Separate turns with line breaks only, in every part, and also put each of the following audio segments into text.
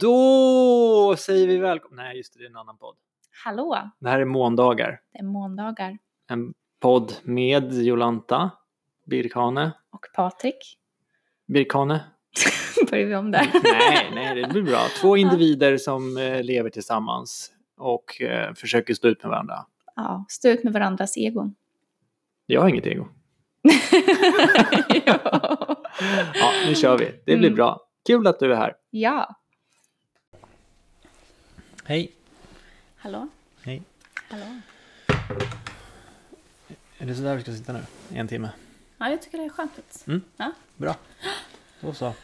Då säger vi välkomna. Nej, just det, det är en annan podd.
Hallå,
Det här är Måndagar.
det är måndagar.
En podd med Jolanta Birkane.
Och Patrik,
Birkane?
börjar vi om där.
Nej, nej, det blir bra. Två individer som eh, lever tillsammans och eh, försöker stå ut med varandra.
Ja, stå ut med varandras egon.
Jag har inget ego.
ja.
Ja, nu kör vi. Det blir
Mm.
bra. Kul att du är här.
ja.
Hej.
Hallå?
Hej.
Hallå.
Är det så där vi ska sitta nu? En timme?
Ja, jag tycker det är skönt.
Mm.
Ja.
Bra. Då så.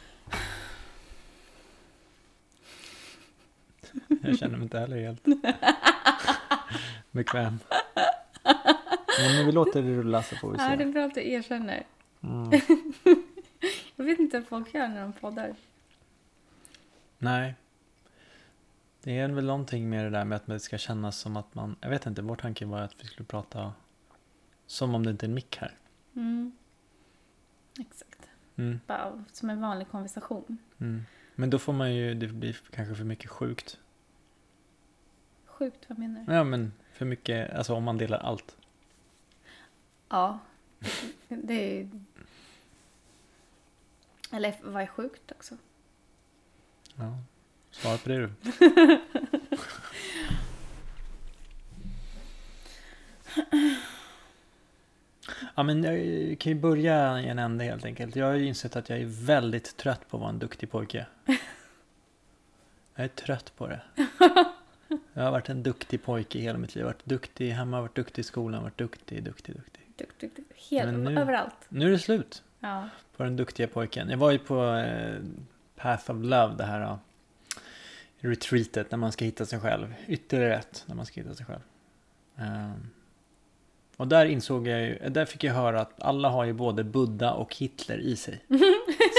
Jag känner mig inte heller helt bekväm. Men vi låter det rulla så får vi
ja, det
se.
är bra att du erkänner.
Mm.
Jag vet inte vad folk gör när de poddar.
Nej. Det är väl någonting med det där med att det ska kännas som att man... Jag vet inte, vår tanke var att vi skulle prata som om det inte är en mick här.
Mm. Exakt.
Mm,
Bara som en vanlig konversation.
mm. Men då får man ju... Det blir kanske för mycket sjukt.
Sjukt, vad menar du?
Ja, men för mycket... Alltså om man delar allt.
Ja. Det är... Eller vad är sjukt också?
Ja, svara på det du. Ja, men jag kan ju börja i en ände helt enkelt. Jag har ju insett att jag är väldigt trött på att vara en duktig pojke. Jag är trött på det. Jag har varit en duktig pojke i hela mitt liv. Jag har varit duktig hemma, varit duktig i skolan, varit duktig, duktig, duktig.
Duk, duk, duk. Helt,
Men nu-
överallt.
Nu är det slut
Ja.
på den duktiga pojken. Jag var ju på eh, Path of Love, det här ja, retreatet när man ska hitta sig själv. Ytterligare ett när man ska hitta sig själv. Ehm, och där insåg jag ju, eh, där fick jag höra att alla har ju både Buddha och Hitler i sig. Sa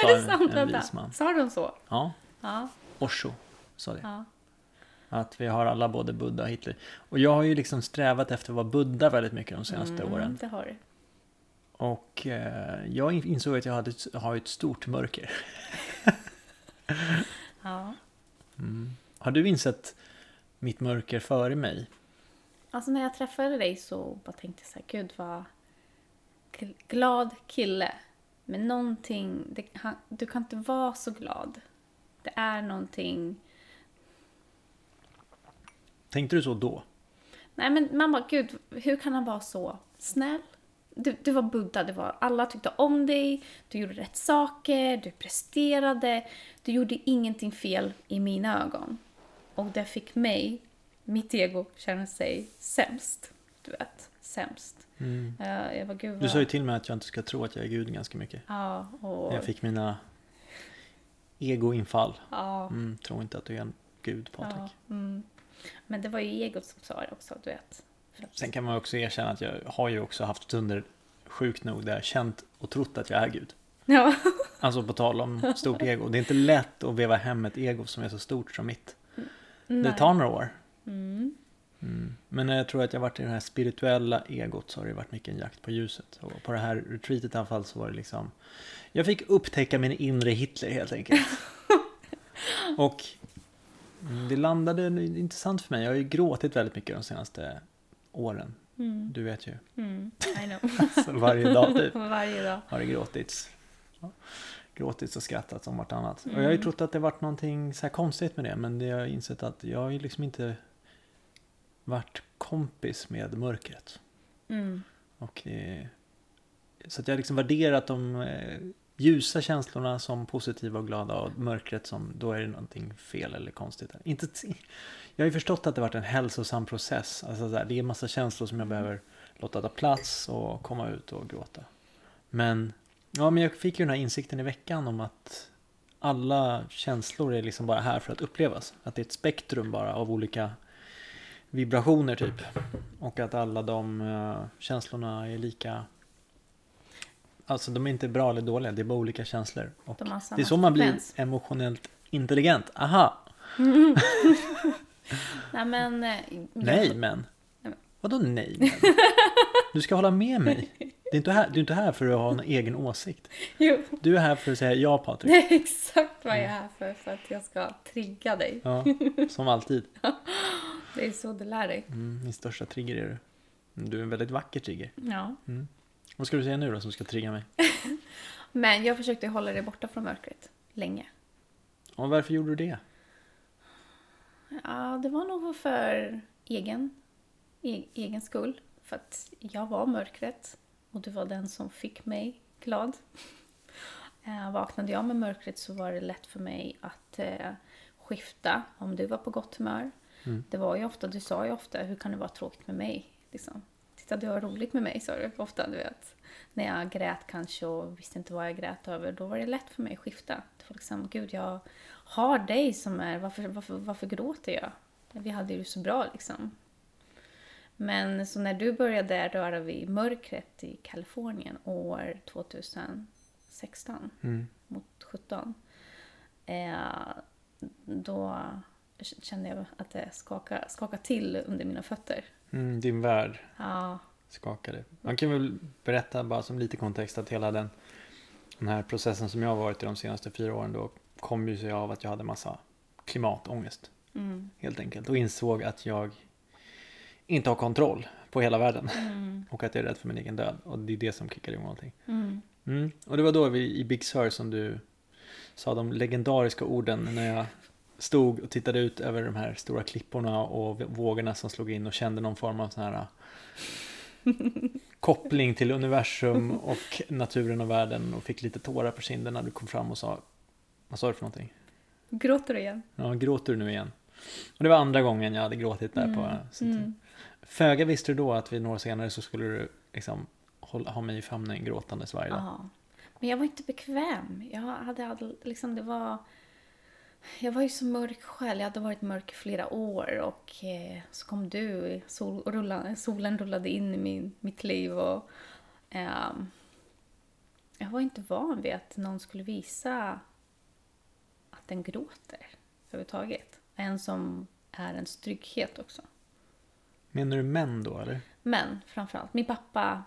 är det sant?
en, en
Vänta.
vis man.
Sa de så?
Ja,
Ja.
Osho sa det.
ja.
Att vi har alla både Buddha och Hitler. Och jag har ju liksom strävat efter att vara Buddha väldigt mycket de senaste
Mm,
åren.
Det har du.
Och eh, jag insåg att jag hade ett, har ett stort mörker.
Ja.
Mm. Har du insett mitt mörker före mig?
Alltså när jag träffade dig så bara tänkte jag så här, gud vad gl- glad kille. Men någonting, det, han, du kan inte vara så glad. Det är någonting.
Tänkte du så då?
Nej men man bara, gud hur kan han vara så snäll? Du, du var Buddha, du var, alla tyckte om dig, du gjorde rätt saker, du presterade, du gjorde ingenting fel i mina ögon. Och det fick mig, mitt ego, känna sig sämst. Du vet, sämst. Eh, jag var gud
Du
vad-
sa ju till mig att jag inte ska tro att jag är gud ganska mycket.
Ja, och...
Jag fick mina egoinfall.
Ja,
Mm, tror inte att du är en gud, Patrik.
ja, mm. Men det var ju egot som sa det också, du vet. För att-
Sen kan man också erkänna att jag har ju också haft stunder, sjukt nog, där jag känt och trott att jag är gud.
Ja,
Alltså på tal om stort ego. Det är inte lätt att veva hem ett ego som är så stort som mitt. Det
nej.
tar några år.
Mm.
Mm. Men när jag tror att jag varit i det här spirituella egot så har det varit mycket en jakt på ljuset. Och på det här retreatet i alla fall så var det liksom... Jag fick upptäcka min inre Hitler helt enkelt. och det landade det är intressant för mig. Jag har ju gråtit väldigt mycket de senaste åren.
Mm.
Du vet ju.
Mm. I know.
Så varje dag typ
Varje dag.
har det gråtits. Ja. Gråtits och skrattats om vartannat. Och jag har ju trott att det varit någonting så här konstigt med det. Men det har jag insett att jag har ju liksom inte varit kompis med mörkret.
Mm.
Och det, så att jag har liksom värderat de eh, ljusa känslorna som positiva och glada och mörkret som då är det någonting fel eller konstigt. här. Inte, t- jag har ju förstått att det varit en hälsosam process. Alltså så här, det är en massa känslor
Mm.
som jag behöver låta ta plats och komma ut och gråta. Men, ja, men jag fick ju den här insikten i veckan om att alla känslor är liksom bara här för att upplevas. Att det är ett spektrum bara av olika vibrationer typ. Och att alla de eh, känslorna är lika... Alltså de är inte bra eller dåliga, det är bara olika känslor. Och
De har samma
det är så man blir
frekvens.
emotionellt intelligent. Aha!
Nej, men... eh,
Nej men! Vadå nej men? Du ska hålla med mig. Det är inte här, du är inte här för att ha en egen åsikt.
Jo,
Du är här för att säga ja Patrik.
det är exakt vad jag är här för, för att jag ska trigga dig.
Ja, som alltid.
Det är så du lär dig.
Mm, min största trigger är du. Mm, Du är en väldigt vacker trigger.
Ja.
Vad ska du säga nu då som ska trigga mig?
Men jag försökte hålla dig borta från mörkret länge.
Ja, varför gjorde du det?
Ja, det var nog för egen, e- egen skull. För att jag var mörkret och du var den som fick mig glad. Eh, vaknade jag med mörkret så var det lätt för mig att eh, skifta om du var på gott humör. Det var ju ofta, du sa ju ofta, hur kan det vara tråkigt med mig? Liksom. Titta, du har roligt med mig, sa du ofta, du vet. När jag grät kanske och visste inte vad jag grät över, då var det lätt för mig att skifta. Det var liksom, gud, jag har dig som är, varför, varför, varför gråter jag? Vi hade ju det så bra liksom. Men så när du började röra vid mörkret i Kalifornien år 2016
Mm.
mot 17. Eh, då k- kände jag att det skakade, skakade till under mina fötter.
Mm, din värld
Ja,
skakade. Man kan väl berätta bara som lite kontext att hela den, den här processen som jag har varit i de senaste fyra åren då kom ju sig av att jag hade massa klimatångest
mm,
helt enkelt och insåg att jag inte har kontroll på hela världen
mm,
och att jag är rädd för min egen död och det är det som kickade igång allting.
mm.
Mm. Och det var då vi, i Big Sur som du sa de legendariska orden när jag stod och tittade ut över de här stora klipporna och vågorna som slog in och kände någon form av sån här eh, koppling till universum och naturen och världen och fick lite tårar på kinden när du kom fram och sa vad sa du för någonting?
Gråter du igen?
Ja, gråter du nu igen? Och det var andra gången jag hade gråtit där på... Så att-
Mm.
Föga visste du då att vi några år senare så skulle du liksom hålla, ha mig i famnen gråtandes varje dag.
Ja. Men jag var inte bekväm. Jag hade all- liksom, det var... Jag var ju så mörk själv. Jag hade varit mörk i flera år och eh, så kom du. Sol, rulla, solen rullade in i min, mitt liv och... ehm, jag var inte van vid att någon skulle visa att den gråter överhuvudtaget. En som är ens trygghet också.
Menar du män då eller?
Men framförallt, min pappa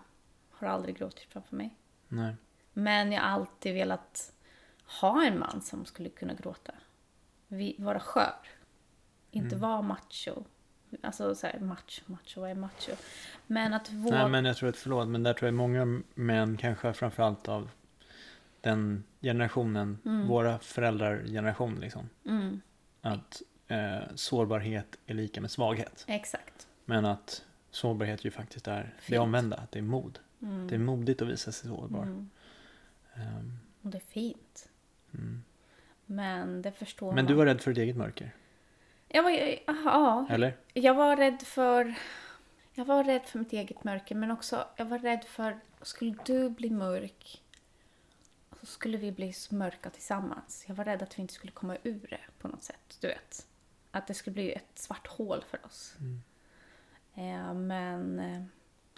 har aldrig gråtit framför mig.
Nej.
Men jag har alltid velat ha en man som skulle kunna gråta. Vi, vara skör. Inte
Mm.
vara macho. Alltså så här, macho, macho, vad är macho? Men att våga...
Nej men jag tror att, förlåt, men där tror jag många män kanske framförallt av den generationen, våra föräldrargeneration liksom.
mm,
Att eh, sårbarhet är lika med svaghet.
exakt.
Men att sårbarhet ju faktiskt är det
Fint.
omvända, att det är mod.
Mm,
Det är modigt att visa sig sårbar.
mm.
Ehm,
Och det är fint.
Mm.
Men det förstår
men
man.
du var rädd för ditt eget mörker,
Jag var, ja,
eller?
Jag var rädd för... Jag var rädd för mitt eget mörker, men också jag var rädd för... Skulle du bli mörk så skulle vi bli så mörka tillsammans. Jag var rädd att vi inte skulle komma ur det på något sätt, du vet. Att det skulle bli ett svart hål för oss.
Mm.
Eh, men eh,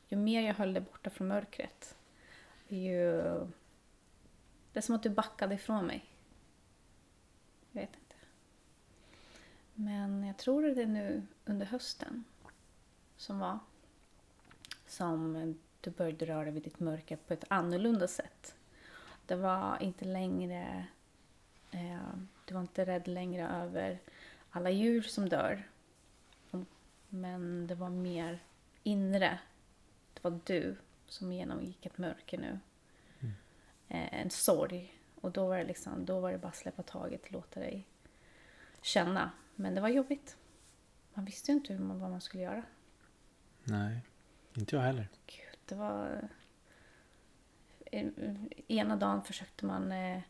ju mer jag höll det borta från mörkret, ju... Det är som att du backade ifrån mig. Jag vet inte. Men jag tror det är nu under hösten som var som du började röra vid ditt mörker på ett annorlunda sätt. Det var inte längre... Eh, du var inte rädd längre över alla djur som dör. Men det var mer inre. Det var du som genomgick ett mörker nu. Eh, en sorg. Och då var det liksom, då var det bara att släppa taget, låta dig känna. Men det var jobbigt. Man visste ju inte hur man, vad man skulle göra.
Nej, inte jag heller.
Gud, det var... eh, Ena dagen försökte man eh,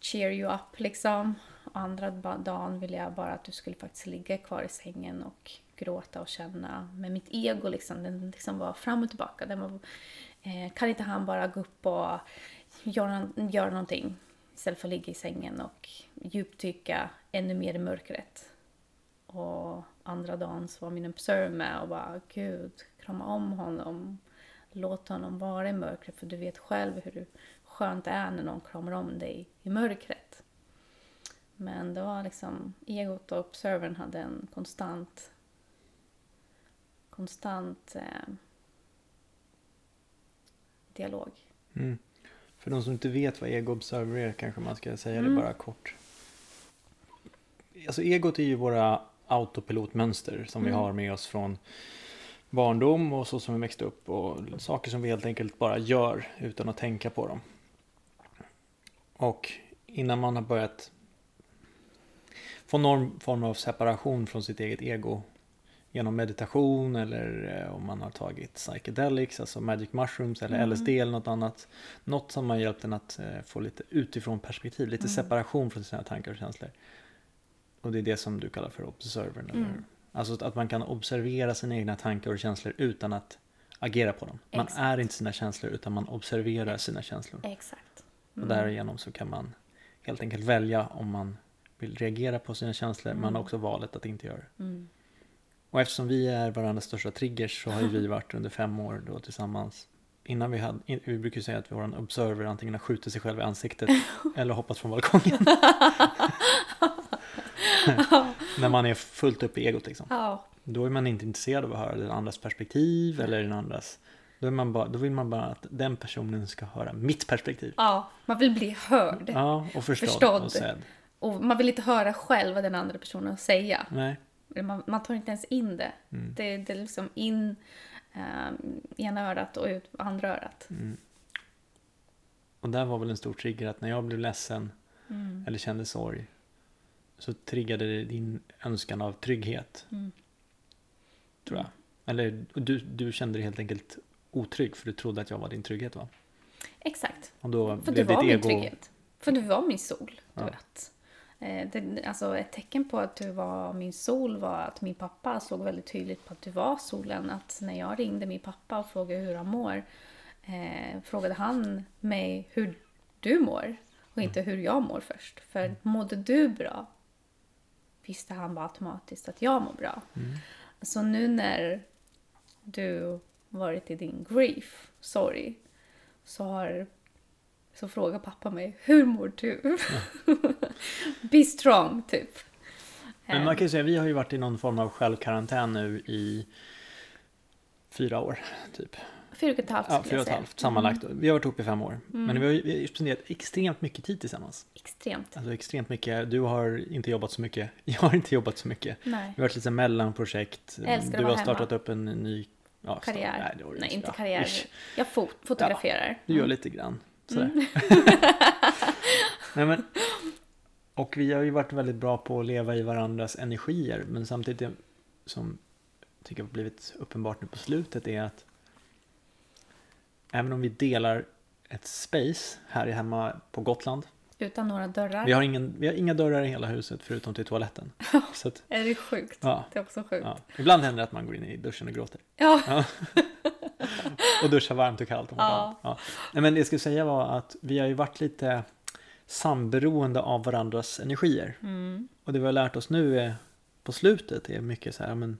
cheer you up liksom. Och andra ba- dagen ville jag bara att du skulle faktiskt ligga kvar i sängen och gråta och känna. Men mitt ego liksom, den liksom var fram och tillbaka. Den var, eh, kan inte han bara gå upp och göra, göra någonting istället för att ligga i sängen och djupdyka ännu mer i mörkret? Och andra dagen så var min observer med och bara gud, krama om honom. Låt honom vara i mörkret för du vet själv hur skönt det är när någon kramar om dig i mörkret. Men det var liksom, egot och observern hade en konstant konstant eh, dialog.
Mm. För de som inte vet vad ego-observer är kanske man ska säga
Mm.
det bara kort. Alltså egot är ju våra autopilotmönster som vi
Mm.
har med oss från barndom och så som vi växte upp och saker som vi helt enkelt bara gör utan att tänka på dem. Och innan man har börjat få någon form av separation från sitt eget ego genom meditation eller eh, om man har tagit psychedelics, alltså magic mushrooms eller
Mm.
LSD eller något annat. Något som har hjälpt en att eh, få lite utifrån perspektiv, lite
Mm.
separation från sina tankar och känslor. Och det är det som du kallar för observern, eller
Mm.
hur? Alltså att- att man kan observera sina egna tankar och känslor utan att agera på dem. Man
Exakt.
är inte sina känslor utan man observerar sina känslor.
Exakt.
Och därigenom så kan man helt enkelt välja om man vill reagera på sina känslor, men man har också valet att inte göra det.
Mm.
Och eftersom vi är varandras största triggers så har ju vi varit under fem år då tillsammans. Innan vi hade, in, vi brukar ju säga att vår observer antingen har skjutit sig själv i ansiktet eller hoppat från balkongen. När man är fullt upp i egot liksom.
Ja,
Då är man inte intresserad av att höra den andras perspektiv eller den andras. Då, är man bara, då vill man bara att den personen ska höra mitt perspektiv.
ja, man vill bli hörd.
Ja, och förstådd,
Förstådd.
och sedd.
Och man vill inte höra själv vad den andra personen har att säga.
Nej. Mm.
Man, man tar inte ens in det. Det, det är liksom in ehm, ena örat och ut andra örat.
Mm. Och där var väl en stor trigger att när jag blev ledsen
Mm.
eller kände sorg så triggade det din önskan av trygghet.
Mm.
Tror jag. Eller och du, du kände dig helt enkelt otrygg för du trodde att jag var din trygghet va?
Exakt.
Och då
För du
blev ditt
var min
ego...
trygghet. För du var min sol, du
Ja.
vet. Eh, Det, alltså ett tecken på att du var min sol var att min pappa såg väldigt tydligt på att du var solen. Att när jag ringde min pappa och frågade hur han mår eh, frågade han mig hur du mår och inte hur jag mår först. För mådde du bra visste han bara automatiskt att jag mår bra. Så nu när du varit i din grief, sorg, så, har, så frågar pappa mig Hur mår du? Be strong, typ.
Men man kan ju säga vi har ju varit i någon form av självkarantän nu i fyra år typ.
Eh, Fyra och ett halvt
Ja,
skulle
fyra och ett
jag säga. Mm,
halvt sammanlagt. Vi har varit ihop i fem år. Men vi har ju vi har ju spenderat extremt mycket tid tillsammans.
Extremt.
Alltså extremt mycket. Du har inte jobbat så mycket. Jag har inte jobbat så mycket.
Nej.
Vi har varit lite mellanprojekt.
Jag älskar att
Du
vara
har startat
hemma.
upp en ny... Ja, start-
Karriär.
Nej, det var det
Nej, inte
Ja,
karriär. Mm.
ish.
Jag fot fotograferar.
Du gör lite grann. Sådär.
Mm.
Nej, men, och vi har ju varit väldigt bra på att leva i varandras energier. Men samtidigt, som jag tycker har blivit uppenbart nu på slutet, är att även om vi delar ett space här hemma på Gotland.
Mm. Utan några dörrar.
Vi har, ingen, vi har inga dörrar i hela huset förutom till toaletten. Så att,
Är det sjukt?
ja,
Det är också sjukt.
ja. Ibland händer det att man går in i duschen och gråter.
Ja.
Och duscha varmt och kallt. Om man
Ja.
kan. Ja. Nej, men det jag skulle säga var att vi har ju varit lite samberoende av varandras energier.
Mm.
Och det vi har lärt oss nu är, på slutet är mycket så här, men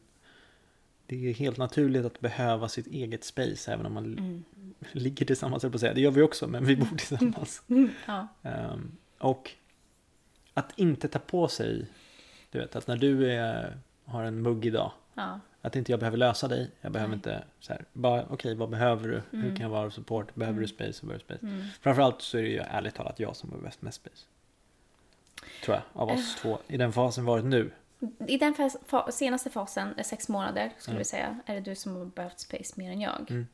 det är helt naturligt att behöva sitt eget space även om man
Mm.
ligger tillsammans, höll jag på att säga. Det gör vi också, men vi bor tillsammans.
Mm. Ja.
Ehm, och att inte ta på sig, du vet, att när du är, har en mugg idag,
ja.
att inte jag behöver lösa dig. Jag behöver
Nej.
inte så här, bara okej, vad behöver du?
Mm.
Hur kan jag vara av support? Behöver du space? Så behöver du space.
Mm.
Framförallt så är det ju ärligt talat jag som behöver mest space. Tror jag, av oss
Eh.
två. I den fasen varit nu.
I den fas, fa, senaste fasen, eh, sex månader, skulle
Mm.
vi säga, är det du som har behövt space mer än jag.
Mm.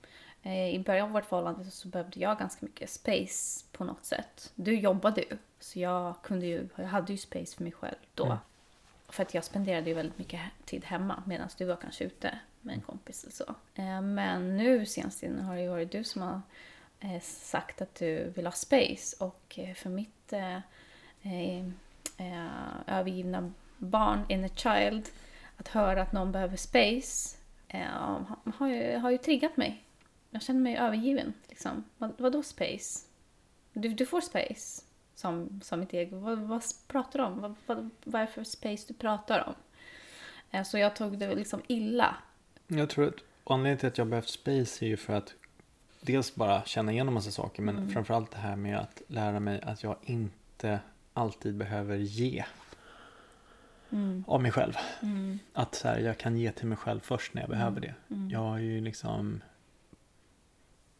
Eh, I början av vårt förhållande så- så behövde jag ganska mycket space på något sätt. Du jobbade ju, så jag, kunde ju, jag hade ju space för mig själv då.
Mm.
För att jag spenderade ju väldigt mycket he- tid hemma medan du var kanske ute med en kompis eller så. Eh, Men nu senast in har det ju varit du som har eh, sagt att du vill ha space och eh, för mitt eh, eh, eh, övergivna barn in a child att höra att någon behöver space eh, har- har, ju, har ju triggat mig. Jag känner mig övergiven. Liksom. Vad, vadå space? Du, du får space, som, som mitt ego. Vad, vad pratar du om? Vad, vad, vad är det för space du pratar om? Eh, så jag tog det liksom illa.
Jag tror att anledningen till att jag behövt space är ju för att dels bara känna igenom massa saker men
Mm.
framförallt det här med att lära mig att jag inte alltid behöver ge
Mm.
av mig själv. Att så här, jag kan ge till mig själv först när jag behöver det. Jag har ju liksom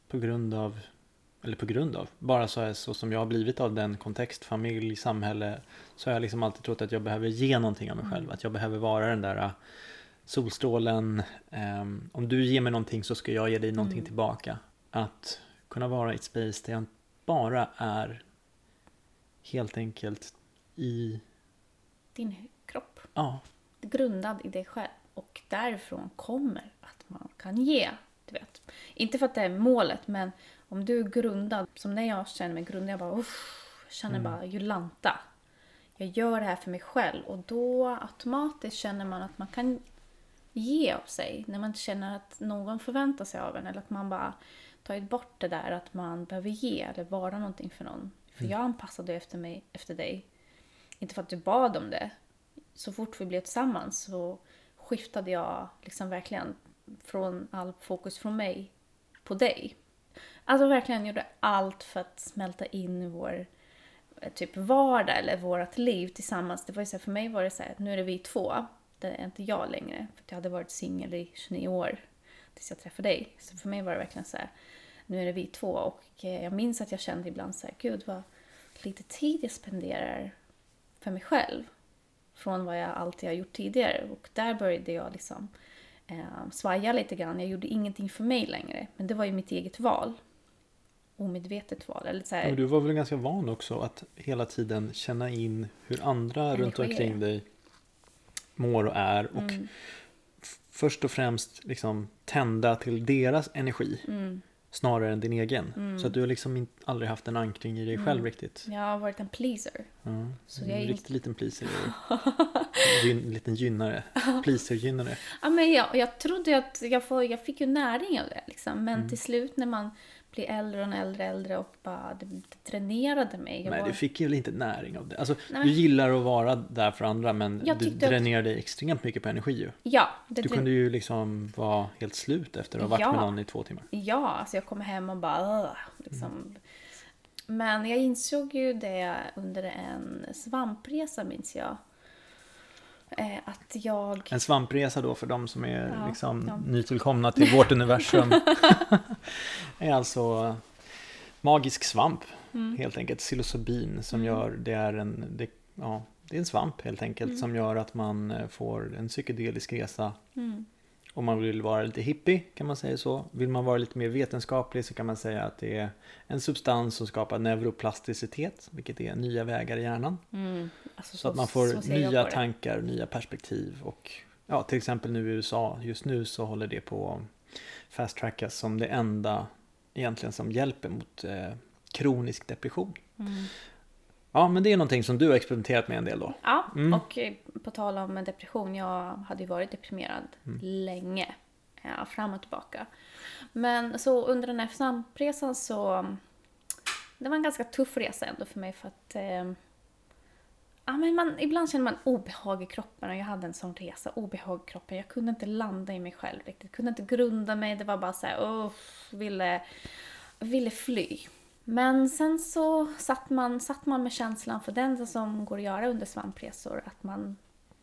på grund av, eller på grund av, bara så, här, så som jag har blivit av den kontext, familj, samhälle, så har jag liksom alltid trott att jag behöver ge någonting av mig själv. Att jag behöver vara den där äh, solstrålen, ehm, om du ger mig någonting så ska jag ge dig någonting tillbaka. Att kunna vara i ett space där jag bara är helt enkelt i,
Din kropp.
ja,
grundad i dig själv. Och därifrån kommer att man kan ge. Du vet. Inte för att det är målet, men om du är grundad, som när jag känner mig grundad, jag bara uff, jag känner bara Jolanta. Jag gör det här för mig själv och då automatiskt känner man att man kan ge av sig. När man känner att någon förväntar sig av en eller att man bara tagit bort det där att man behöver ge eller vara någonting för någon. För jag anpassade efter mig efter dig. Inte för att du bad om det. Så fort vi blev tillsammans så skiftade jag liksom verkligen från all fokus från mig på dig. Alltså verkligen gjorde allt för att smälta in i vår eh, typ vardag eller vårt liv tillsammans. Det var ju så här, för mig var det så här att nu är det vi två. Det är inte jag längre. För att jag hade varit singel i 29 år tills jag träffade dig. Så för mig var det verkligen så här, nu är det vi två. Och eh, jag minns att jag kände ibland så här, gud vad lite tid jag spenderar för mig själv från vad jag alltid har gjort tidigare. Och där började jag liksom eh, svaja lite grann. Jag gjorde ingenting för mig längre. Men det var ju mitt eget val. Omedvetet val. Eller så här,
Men du var väl ganska van också att hela tiden känna in hur andra runt omkring dig mår och är. Och
Mm.
f- först och främst liksom tända till deras energi
mm.
snarare än din egen. Så att du har liksom in- aldrig haft en ankring i dig själv riktigt.
Jag har varit en pleaser.
Mm.
Så
en
Mm. jag är ju-
riktigt liten pleaser. Gyn, liten gynnare. Pleaser-gynnare.
Ja, men jag, jag trodde ju att jag, får, jag fick ju näring av det. Liksom. Men
Mm.
till slut när man blir äldre och äldre, äldre och bara det, det dränerade mig. Jag
Nej,
var-
du fick ju väl inte näring av det. Alltså,
men-
Du gillar att vara där för andra men
Jag
du
tyckte att-
dränerar dig extremt mycket på energi ju.
ja, det
Du
drä-
kunde ju liksom vara helt slut efter att ha varit
Ja.
med någon i två timmar.
Ja, alltså jag kom hem och bara... "Ugh", Liksom.
Mm.
Men jag insåg ju det under en svampresa, minns jag. Eh, att jag...
En svampresa då för de som är
Ja,
liksom
ja.
nytillkomna till vårt universum. är alltså magisk svamp
Mm.
helt enkelt. Psilocybin som gör, det är en, det, ja, det är en svamp helt
Mm.
enkelt som gör att man eh, får en psykedelisk resa.
Mm.
Om man vill vara lite hippie kan man säga så. Vill man vara lite mer vetenskaplig så kan man säga att det är en substans som skapar neuroplasticitet, vilket är nya vägar i hjärnan.
Mm, alltså
Så att man
så
får
ser jag
nya
på det.
tankar, nya perspektiv och ja, till exempel nu i USA just nu så håller det på att fast-trackas som det enda egentligen som hjälper mot eh, kronisk depression.
Mm.
Ja, men det är någonting som du har experimenterat med en del då.
Ja,
Mm.
och eh, på tal om depression, jag hade ju varit deprimerad länge. Ja, fram och tillbaka. Men så under den här svampresan så... Det var en ganska tuff resa ändå för mig för att... Eh, ja, men man, ibland känner man obehag i kroppen och jag hade en sån resa, obehag i kroppen. Jag kunde inte landa i mig själv riktigt, kunde inte grunda mig. Det var bara så här, uff, ville, ville fly. Men sen så satt man, satt man med känslan, för den som går att göra under svampresor, att man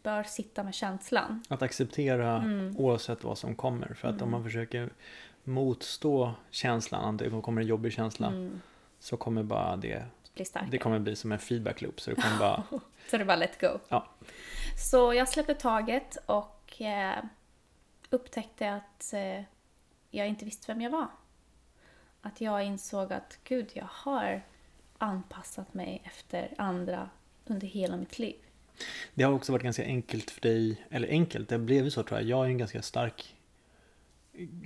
bör sitta med känslan.
Att acceptera
Mm.
oavsett vad som kommer. För att om man försöker motstå känslan, om det kommer en jobbig känsla,
Mm.
så kommer bara det,
Bli starkare.
det kommer bli som en feedback loop. Så det kommer bara,
Så det var let go.
ja,
Så jag släppte taget och eh, upptäckte att eh, jag inte visste vem jag var. Att jag insåg att gud, jag har anpassat mig efter andra under hela mitt liv.
Det har också varit ganska enkelt för dig, eller enkelt, det blev ju så tror jag. Jag är en ganska stark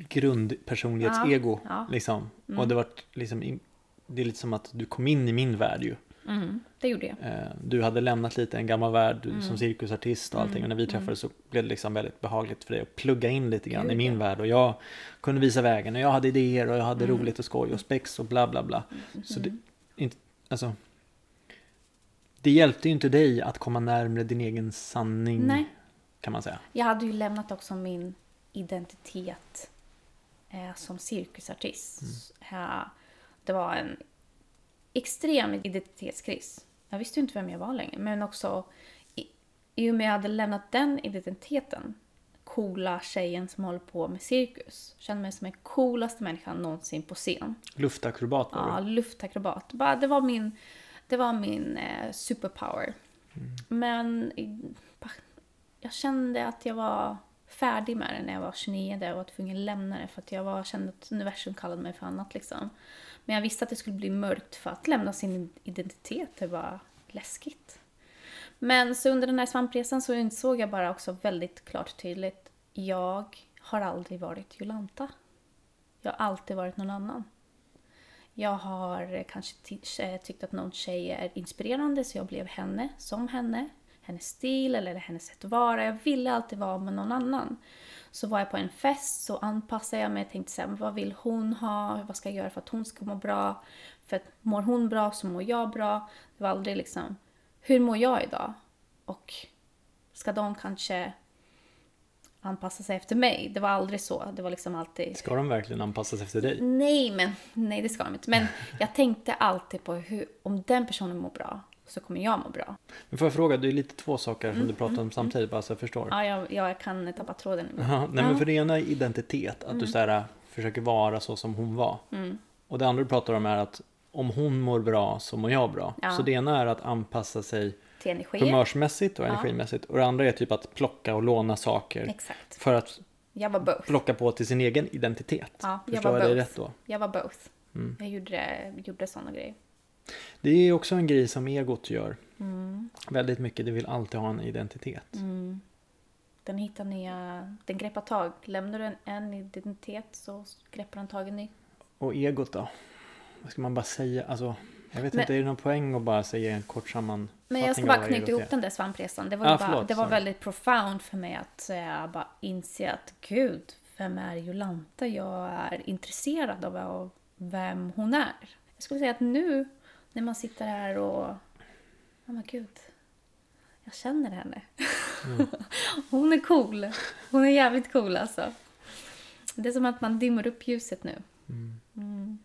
grundpersonlighetsego.
Ja, Mm. ja.
Liksom. Och det, varit liksom, in- det är lite som att du kom in i min värld ju.
Det gjorde jag.
Eh, Du hade lämnat lite en gammal värld du-
Mm.
som cirkusartist och allting. Och när vi träffades så blev det liksom väldigt behagligt för dig att plugga in lite grann i
Gud,
min värld. Och jag kunde visa vägen och jag hade idéer och jag
Mm.
hade roligt och skoj och spex och bla bla bla. Så det, inte, alltså, det hjälpte ju inte dig att komma närmare din egen sanning
Nej.
kan man säga.
Jag hade ju lämnat också min identitet eh, som cirkusartist. Eh, det var en extrem identitetskris. Jag visste ju inte vem jag var längre, men också i, i och med att jag hade lämnat den identiteten ko- coola tjejen som håller på med cirkus. Kände mig som den coolaste människan någonsin på scen.
Luftakrobat var
Ja,
du.
luftakrobat. Bara, det var min, det var min eh, superpower. Men i- pa- jag kände att jag var färdig med det när jag var 29. Där jag var tvungen att lämna det för att jag var, kände att universum kallade mig för annat. Liksom. Men jag visste att det skulle bli mörkt för att lämna sin identitet. Det var läskigt. Men så under den här svampresan så insåg jag bara också väldigt klart och tydligt. Jag har aldrig varit Jolanta. Jag har alltid varit någon annan. Jag har eh, kanske ty- eh, tyckt att någon tjej är inspirerande så jag blev henne, som henne. Hennes stil eller hennes sätt att vara. Jag ville alltid vara med någon annan. Så var jag på en fest så anpassade jag mig och tänkte så här, "Men vad vill hon ha? Vad ska jag göra för att hon ska må bra? För att mår hon bra så mår jag bra. Det var aldrig liksom, hur mår jag idag? Och ska de kanske anpassa sig efter mig? Det var aldrig så. Det var liksom alltid
Ska de verkligen anpassas efter dig?
Nej, men nej, det ska de inte. Men jag tänkte alltid på hur, om den personen mår bra så kommer jag må bra.
Men får jag fråga, det är lite två saker
Mm,
som du pratar om samtidigt, bara så jag förstår.
Ja, jag, jag kan tappa tråden nu.
Ja, nej, men för det ena är identitet,
Mm.
att du så här, äh, försöker vara så som hon var. Och det andra du pratar om är att om hon mår bra så mår jag bra.
Ja.
Så det ena är att anpassa sig
Till energier.
humörsmässigt och energimässigt. Och det andra är typ att plocka och låna saker
Exakt.
för att
Jag var both.
plocka på till sin egen identitet.
Ja, jag
Förstår
var
jag dig
both.
rätt då? Mm.
Jag var both. Jag gjorde, gjorde sådana grejer.
Det är också en grej som egot gör.
Mm,
Väldigt mycket, det vill alltid ha en identitet.
Den hittar nya, den greppar tag. Lämnar du en, en identitet så greppar den tag i en ny.
Och egot då? Vad ska man bara säga? Alltså, jag vet
Men-
inte, är det någon poäng att bara säga en kort sammanfattning
Men jag ska
av
bara
vad
knyta
egot är?
ihop den där svampresan. Det var,
Ah,
ju bara,
förlåt,
det var
sorry.
väldigt profound för mig att eh, bara inse att gud, vem är Jolanta? Jag är intresserad av av vem hon är. Jag skulle säga att nu när man sitter här och... Ja men gud, jag känner henne.
Mm.
hon är cool. Hon är jävligt cool alltså. Det är som att man dimmar upp ljuset nu. Mm,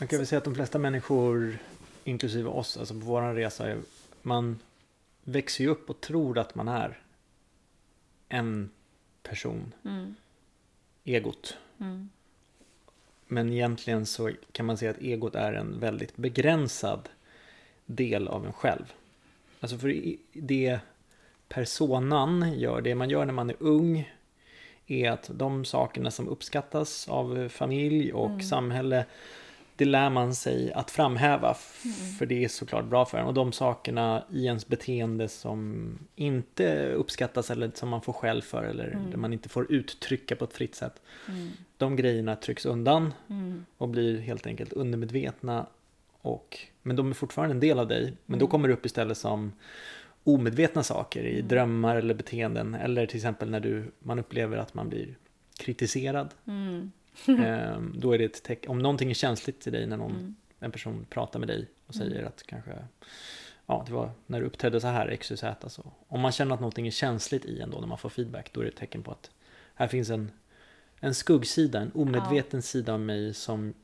Man kan väl säga att de flesta människor, inklusive oss, alltså på vår resa, är- man växer ju upp och tror att man är en person,
Mm,
egot.
mm,
Men egentligen så kan man säga att egot är en väldigt begränsad del av en själv. Alltså för i- det personan gör, det man gör när man är ung, är att de sakerna som uppskattas av familj och samhälle, det lär man sig att framhäva, f- för det är såklart bra för en. Och de sakerna i ens beteende som inte uppskattas eller som man får skäll för eller där man inte får uttrycka på ett fritt sätt,
mm,
de grejerna trycks undan
mm,
och blir helt enkelt undermedvetna. Och, men de är fortfarande en del av dig. Men då kommer det upp istället som omedvetna saker i drömmar eller beteenden. Eller till exempel när du, man upplever att man blir kritiserad.
mm.
Ehm, då är det ett tecken, om någonting är känsligt till dig när någon,
Mm.
en person pratar med dig och säger att kanske, ja det var när du uppträdde så här, x, y, z. Alltså. Om man känner att någonting är känsligt i en då när man får feedback, då är det ett tecken på att här finns en, en skuggsida, en omedveten sida av mig som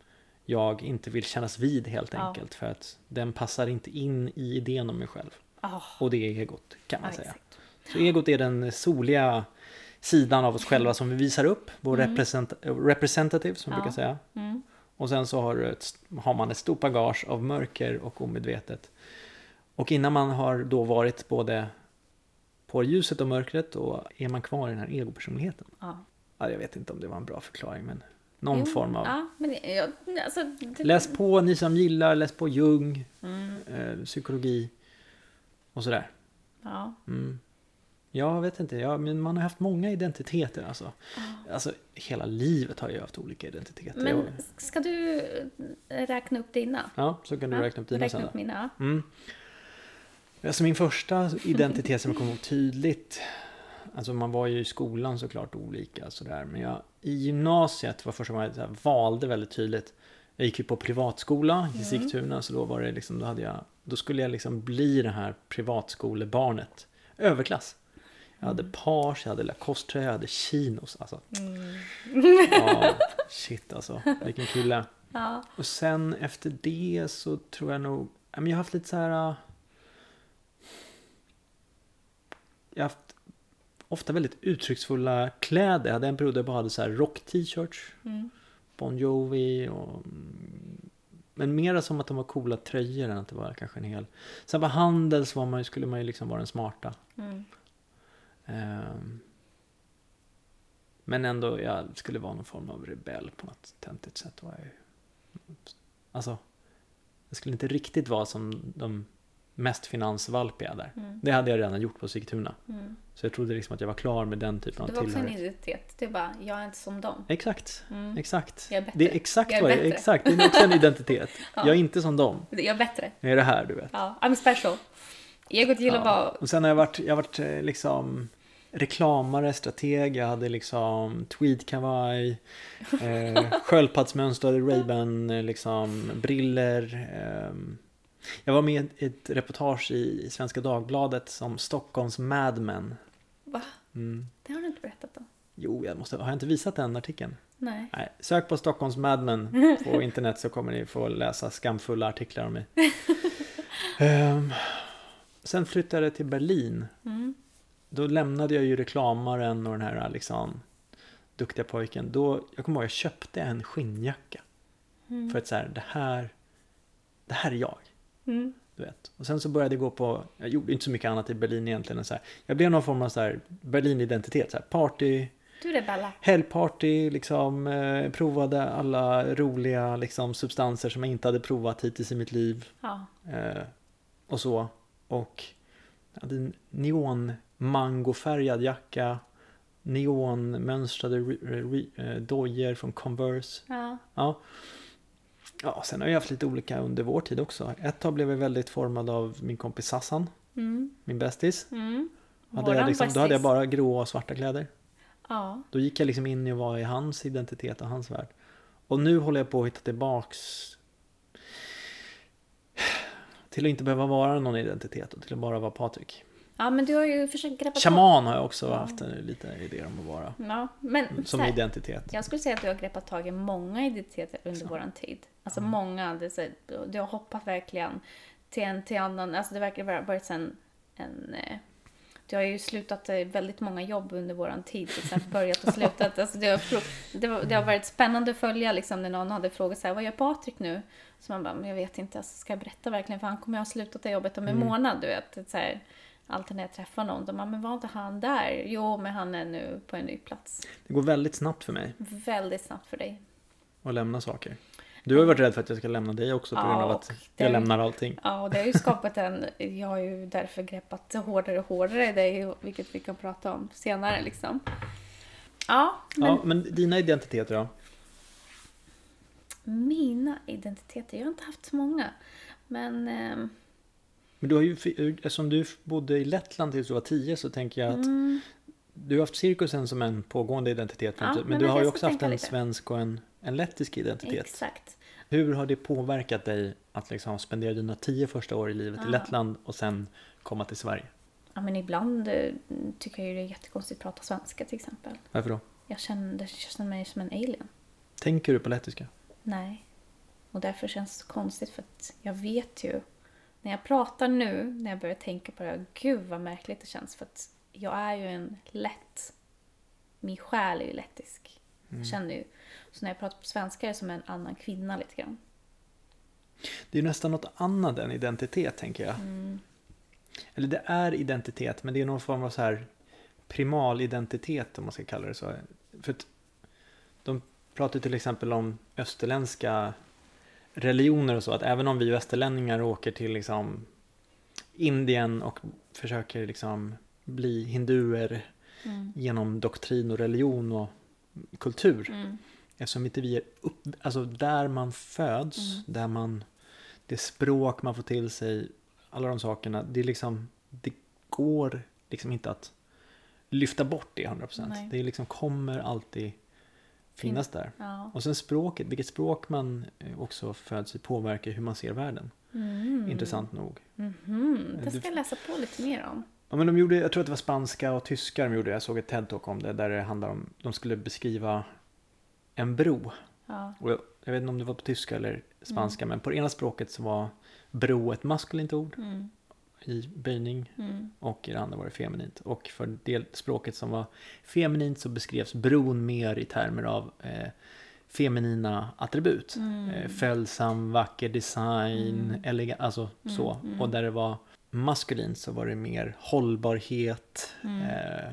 jag inte vill kännas vid helt
Ja.
enkelt. För att den passar inte in i idén om mig själv.
Ah,
Och det är egot kan man
ja,
säga.
exakt.
Så egot är den soliga sidan av oss själva som vi visar upp, vår represent- representative som vi
Mm. Ja.
brukar säga.
Mm.
Och sen så har, du ett, har man ett stort bagage av mörker och omedvetet. Och innan man har då varit både på ljuset och mörkret, då är man kvar i den här egopersonligheten.
Ja.
Ja, jag vet inte om det var en bra förklaring, men någon
Jo,
form av...
Ja, men det- jag, alltså, det, Mm.
Läs på, ni som gillar, läs på Jung, eh, psykologi och sådär.
Ja.
Mm. Jag vet inte, ja, men man har haft många identiteter alltså. Alltså hela livet har jag haft olika identiteter.
Men
Jag-
ska du eh, räkna upp dina?
Ja, så kan du
Ja,
räkna upp dina
räkna
sen
upp
då.
mina.
Mm. Alltså min första identitet som jag kommer ihåg tydligt, alltså man var ju i skolan såklart olika sådär, men jag, i gymnasiet var första gången jag så här valde väldigt tydligt. Jag gick ju på privatskola i Sigtuna, så då var det liksom, då hade jag, då skulle jag liksom bli det här privatskolebarnet. Överklass. Jag hade page, jag hade lacoste, jag hade chinos. Alltså, ja, shit alltså, vilken kille.
Ja.
Och sen efter det så tror jag nog... ja, men Jag har haft lite så här... äh, Jag har haft ofta väldigt uttrycksfulla kläder. Jag hade en period där jag bara hade så här rock-t-shirts.
Mm.
Bon Jovi och... mm, Men mera som att de var coola tröjor än att det var kanske en hel... Sen på Handels var man, ju- skulle man ju liksom vara den smarta.
Mm.
Ehm, Men ändå, jag skulle vara någon form av rebell på något töntigt sätt. Var jag ju. Alltså, jag skulle inte riktigt vara som de mest finansvalpiga där.
Mm.
Det hade jag redan gjort på Sigtuna.
Mm.
Så jag trodde liksom att jag var klar med den typen av
Det var också en
tillhörighet.
identitet. Det är bara, jag är inte som dem.
Exakt,
Mm.
exakt.
Jag är bättre.
Det är exakt
Jag är
vad jag,
bättre.
exakt. Det är också en identitet.
Ja.
Jag är inte som dem.
Jag är bättre.
Jag är det här, du vet.
Ja, I'm special. Egot gillar
Ja.
bara...
Och sen har jag varit, jag har varit eh, liksom reklamare, strateg, jag hade liksom tweedkavaj, eh, sköldpaddsmönstrade Ray-Ban, eh, liksom briller. ehm. jag var med i ett reportage i Svenska Dagbladet som Stockholms Mad Men.
Va?
Mm.
Det har du inte berättat om.
Jo, jag måste, har jag inte visat den artikeln?
Nej.
Nej, sök på Stockholms Mad Men på internet så kommer ni få läsa skamfulla artiklar om mig. Ehm, sen flyttade jag till Berlin.
Mm.
Då lämnade jag ju reklamaren och den här liksom duktiga pojken. Då, jag kommer ihåg jag köpte en skinnjacka.
Mm.
För att så här, det här, det här är jag.
Mm.
Du vet. Och sen så började jag gå på, jag gjorde inte så mycket annat i Berlin egentligen. än Så här, jag blev någon form av så här Berlin-identitet. Så här, party,
Du är Bella.
helgparty, liksom, eh, provade alla roliga liksom, substanser som jag inte hade provat hittills i mitt liv.
Ja.
Eh, och så. Och jag hade en neon-mangofärgad jacka. Neonmönstrade re- re- eh, dojor från Converse.
ja.
Ja. ja, sen har jag haft lite olika under vår tid också. Ett tag blev jag väldigt formad av min kompis Sassan,
Mm.
min bästis.
Mm.
Hade jag
Våran
liksom, då hade jag
bästis.
bara gråa och svarta kläder.
Ja.
Då gick jag liksom in i att vara i hans identitet och hans värld. Och nu håller jag på att hitta tillbaks till att inte behöva vara någon identitet och till att bara vara Patrik.
ja, men du har ju försökt greppa tag.
Shaman har jag också haft en, lite idéer om att vara.
Ja, men så
Som
här,
identitet.
jag skulle säga att du har greppat tag i många identiteter under
Så.
vår tid. Alltså många, det är så, här, du har hoppat verkligen till en till annan. Alltså det verkar vara varit en, en... eh, Du har ju slutat eh, väldigt många jobb under vår tid. Liksom, börjat och slutat. Alltså det, har, pro- det, var, det har varit spännande att följa liksom, när någon hade frågat så här, vad gör Patrik nu? Så man bara, men jag vet inte, alltså, ska jag berätta verkligen? För han kommer ju ha slutat det jobbet om en
Mm.
månad, du vet. Så här, alltid när jag träffar någon, de bara, men var inte han där? Jo, men han är nu på en ny plats.
Det går väldigt snabbt för mig
Väldigt snabbt för dig.
att lämna saker. Du har ju varit rädd för att jag ska lämna dig också på
Ja,
grund av att
och
jag
den-
lämnar allting.
Ja, och det har ju skapat en... Jag har ju därför greppat hårdare och hårdare i dig, vilket vi kan prata om senare liksom. Ja, men
Ja, men dina identiteter då?
mina identiteter, jag har inte haft så många. Men... ehm,
Men du har ju, eftersom du bodde i Lettland tills du var tio så tänker jag att
mm,
Du har haft cirkusen som en pågående identitet,
Ja,
fram till- men,
men
du
jag
har ju
ska
också haft
tänka
en
lite.
svensk och en, en lettisk identitet.
exakt.
Hur har det påverkat dig att liksom spendera dina tio första år i livet i
Ja.
Lettland och sen komma till Sverige?
Ja, men ibland eh, tycker jag ju det är jättekonstigt att prata svenska till exempel.
Varför då?
Jag känner, jag känner mig som en alien.
Tänker du på lettiska?
Nej. Och därför känns det konstigt för att jag vet ju. När jag pratar nu, när jag börjar tänka på det här, gud vad märkligt det känns för att jag är ju en lätt... Min själ är ju lettisk.
Mm.
Jag känner ju. Så när jag pratar på svenska är det som en annan kvinna lite grann.
Det är ju nästan något annat än identitet, tänker jag.
Mm.
Eller det är identitet, men det är någon form av så här primalidentitet, om man ska kalla det så. För att de pratar till exempel om österländska religioner och så, att även om vi västerlänningar åker till liksom Indien och försöker liksom bli hinduer
Mm.
genom doktrin och religion och kultur,
Mm.
Eftersom inte vi är upp, alltså där man föds,
Mm.
där man, det språk man får till sig, alla de sakerna, det är liksom, det går liksom inte att lyfta bort det 100%.
Nej. Mm.
Det liksom kommer alltid finnas där.
Ja.
Och sen språket, vilket språk man eh, också föds i påverkar hur man ser världen.
Mm.
Intressant nog.
Mhm. Det
Du-
ska jag läsa på lite mer om.
Ja, men de gjorde, jag tror att det var spanska och tyska de gjorde, jag såg ett TED-talk om det, där det handlar om, de skulle beskriva en bro.
Ja.
Och jag, jag vet inte om det var på tyska eller spanska, men på det ena språket så var bro ett maskulint ord
Mm.
i böjning och i det andra var det feminint. Och för det språket som var feminint så beskrevs bron mer i termer av eh, feminina attribut.
Mm.
Eh, följsam, vacker design, elegant, alltså så. Och där det var maskulint så var det mer hållbarhet,
Mm.
eh,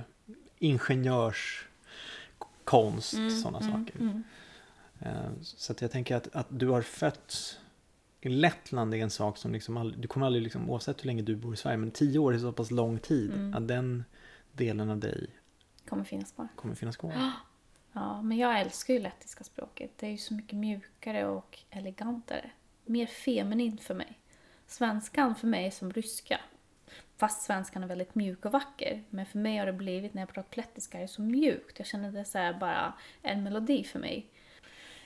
ingenjörskonst,
Mm.
sådana saker. Eh, Så att jag tänker att, att du har fötts i Lettland är en sak som liksom aldrig, du kommer aldrig, liksom, oavsett hur länge du bor i Sverige, men tio år är så pass lång tid att den delen av dig
Kommer finnas kvar.
kommer finnas kvar.
Ja, men jag älskar ju lettiska språket. Det är ju så mycket mjukare och elegantare. Mer feminint för mig. Svenskan för mig är som ryska. Fast svenskan är väldigt mjuk och vacker. Men för mig har det blivit, när jag pratar lettiska, det är så mjukt. Jag känner det så här bara en melodi för mig.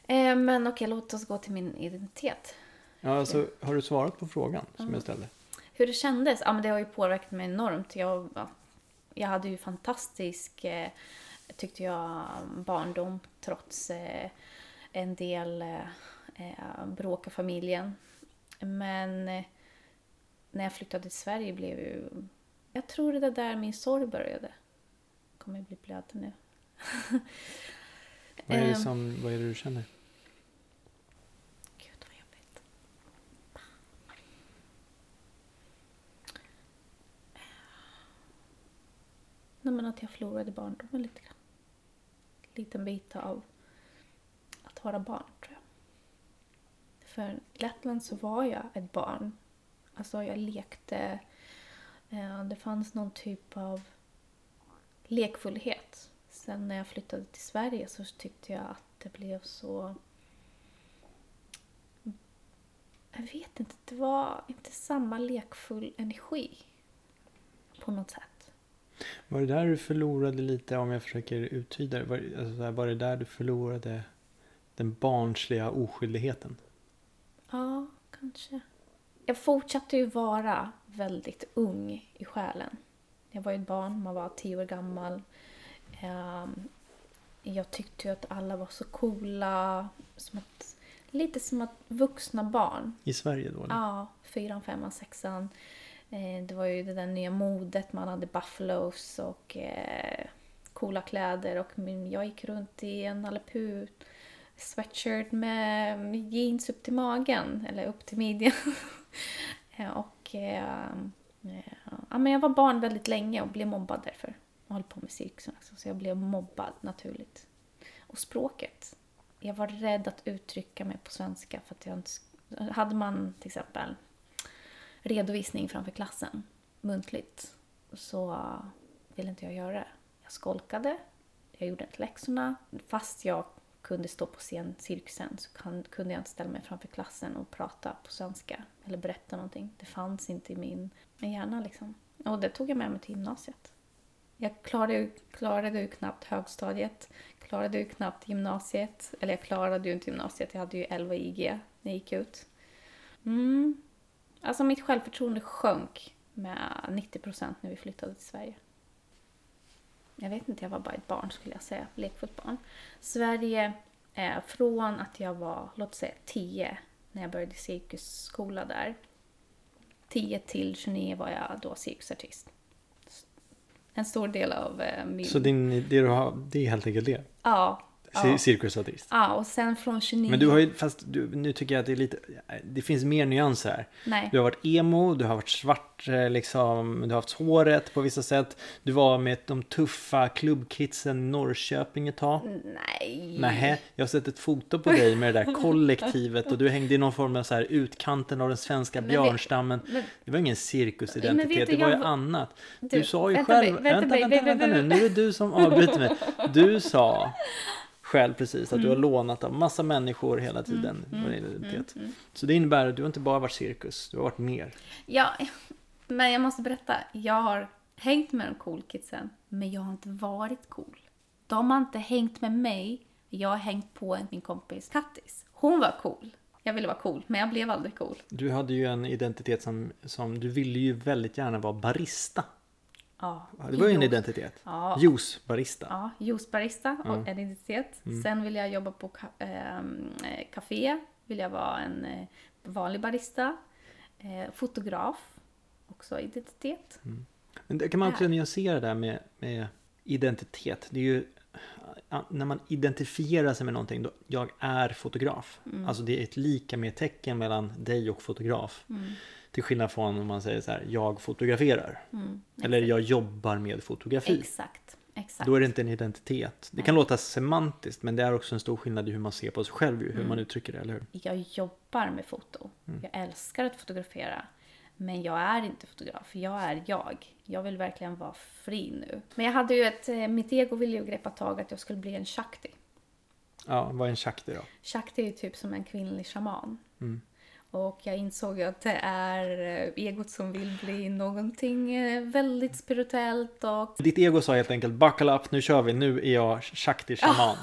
Eh, men okej, låt oss gå till min identitet.
Ja, alltså, har du svarat på frågan som jag ställde?
Hur det kändes? Ja, men det har ju påverkat mig enormt. Jag, ja, jag hade ju fantastisk, eh, tyckte jag, barndom trots eh, en del eh, eh, bråk i familjen. Men eh, när jag flyttade till Sverige blev ju... Jag tror det var där min sorg började. Kommer jag bli blöt nu.
Vad är det,
Ehm.
som, vad är det du känner?
Gud vad jobbigt. Eh. Nej men att jag förlorade barndomen lite grann. Liten bit av att vara barn tror jag. För i Lettland så var jag ett barn. Alltså jag lekte. eh, Det fanns någon typ av lekfullhet. Sen när jag flyttade till Sverige så tyckte jag att det blev så jag vet inte, det var inte samma lekfull energi på något sätt.
Var det där du förlorade lite, om jag försöker uttyda det? Var, alltså, så här, var det där du förlorade den barnsliga oskyldigheten?
Ja, kanske. Jag fortsatte ju vara väldigt ung i själen. Jag var ju ett barn, man var tio år gammal. Ehm, Jag tyckte ju att alla var så coola. Som att, lite som att vuxna barn
I Sverige då? eller?
Ja, fyran, femman, sexan. Eh, Det var ju det där nya modet, man hade buffalos och eh, coola kläder och min, jag gick runt i en Nalle Puh sweatshirt med jeans upp till magen, eller upp till midjan. Eh, och eh, eh, ja, men jag var barn väldigt länge och blev mobbad därför. Jag höll på med cirkusen också, så jag blev mobbad naturligt. Och språket. Jag var rädd att uttrycka mig på svenska för att jag inte... sk- Hade man till exempel redovisning framför klassen muntligt så ville inte jag göra det. Jag skolkade, jag gjorde inte läxorna. Fast jag kunde stå på scen, cirkusen, så kan- kunde jag inte ställa mig framför klassen och prata på svenska eller berätta någonting. Det fanns inte i min, min hjärna liksom. Och det tog jag med mig till gymnasiet. Jag klarade ju, klarade ju knappt högstadiet, klarade ju knappt gymnasiet. Eller jag klarade ju inte gymnasiet, jag hade ju 11 IG när jag gick ut. Mm. Alltså mitt självförtroende sjönk med 90% när vi flyttade till Sverige. Jag vet inte, jag var bara ett barn skulle jag säga, lekfullt barn. Sverige, eh, från att jag var, låt säga 10 när jag började cirkusskola där. 10 till 29 var jag då cirkusartist. En stor del av eh, min...
Så din, det du har, det är helt enkelt det?
Ja.
Ja.
Ja.
Cirkusartist?
ja, och sen från 29...
Men du har ju, fast du, nu tycker jag att det är lite, det finns mer nyanser här.
Nej.
Du har varit emo, du har varit svart, eh, liksom, du har haft håret på vissa sätt. Du var med de tuffa klubbkidsen i Norrköping ett tag.
Mm. Nej.
Nähä, jag har sett ett foto på dig med det där kollektivet och du hängde i någon form av så här utkanten av den svenska
Men vet-
björnstammen.
men-
Det var ingen
Men vet
cirkusidentitet,
du,
det var ju
jag-
annat. Du,
Du,
sa ju
vänta
själv,
mig,
vänta,
vänta
vänta,
mig,
vänta,
vänta
nu, nu är det du som avbryter mig. Du sa själv precis att du har
Mm.
lånat av massa människor hela tiden. vad det gäller identitet.
mm.
Så det innebär att du har inte bara varit cirkus, du har varit mer.
Ja, men jag måste berätta. Jag har hängt med de cool kidsen, men jag har inte varit cool. De har inte hängt med mig. Jag har hängt på min kompis Kattis. Hon var cool. Jag ville vara cool, men jag blev aldrig cool.
Du hade ju en identitet som, som du ville ju väldigt gärna vara barista.
Ja,
Det var ju en
idiot.
identitet.
Ja.
Juicebarista.
Ja, juicebarista och
Mm.
en identitet. Sen vill jag jobba på ka- ehm, eh, café, vill jag vara en eh, vanlig barista, eh, fotograf, också identitet.
Mm. Men det kan man också
Är.
nyansera det där med, med identitet. Det är ju ja, när man identifierar sig med någonting, då, jag är fotograf. Alltså det är ett lika med tecken mellan dig och fotograf. Till skillnad från om man säger så här, jag fotograferar. Eller jag jobbar med fotografi.
Exakt. Exakt.
Då är det inte en identitet. Det kan låta semantiskt men det är också en stor skillnad i hur man ser på sig själv, ju, hur man uttrycker det, eller hur?
jag jobbar med foto.
Mm.
Jag älskar att fotografera. Men jag är inte fotograf. Jag är jag. Jag vill verkligen vara fri nu. Men jag hade ju ett... eh, Mitt ego ville ju greppa tag att jag skulle bli en shakti.
Ja, vad är en shakti då?
Shakti är ju typ som en kvinnlig shaman.
Mm.
Och jag insåg ju att det är eh, egot som vill bli någonting eh, väldigt spirituellt och
Ditt ego sa helt enkelt buckle up, nu kör vi, nu är jag shakti shaman.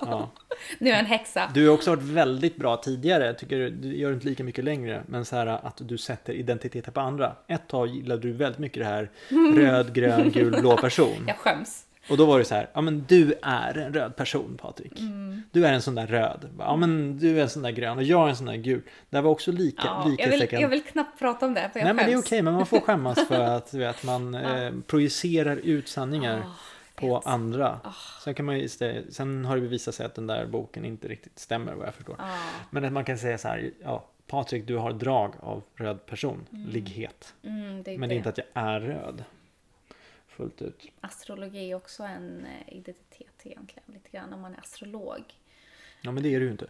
Ja.
nu är jag en häxa.
Du har också varit väldigt bra tidigare, jag tycker du gör inte lika mycket längre, men så här att du sätter identiteter på andra. Ett tag gillade du väldigt mycket det här röd, grön, gul, blå person.
Jag skäms.
Och då var det så här, ja men du är en röd person Patrik.
Mm.
Du är en sån där röd, ja men du är en sån där grön och jag är en sån där gul. Det var också lika,
Ja,
lika
jag, vill,
säkert.
jag vill knappt prata om det för jag
Nej men det är
skäms.
okej, men man får skämmas för att du vet, man eh, projicerar ut sanningar
Ah,
på andra. Sen, kan man ju, stä- sen har det ju visat sig att den där boken inte riktigt stämmer vad jag förstår.
Ja.
Men att man kan säga så här, ja, Patrik du har drag av röd person, ligghet.
Mm, det är
Men det
det.
är inte att jag är röd. Fullt ut.
Astrologi är också en eh, identitet egentligen, lite grann, om man är astrolog.
Ja men det är du ju inte.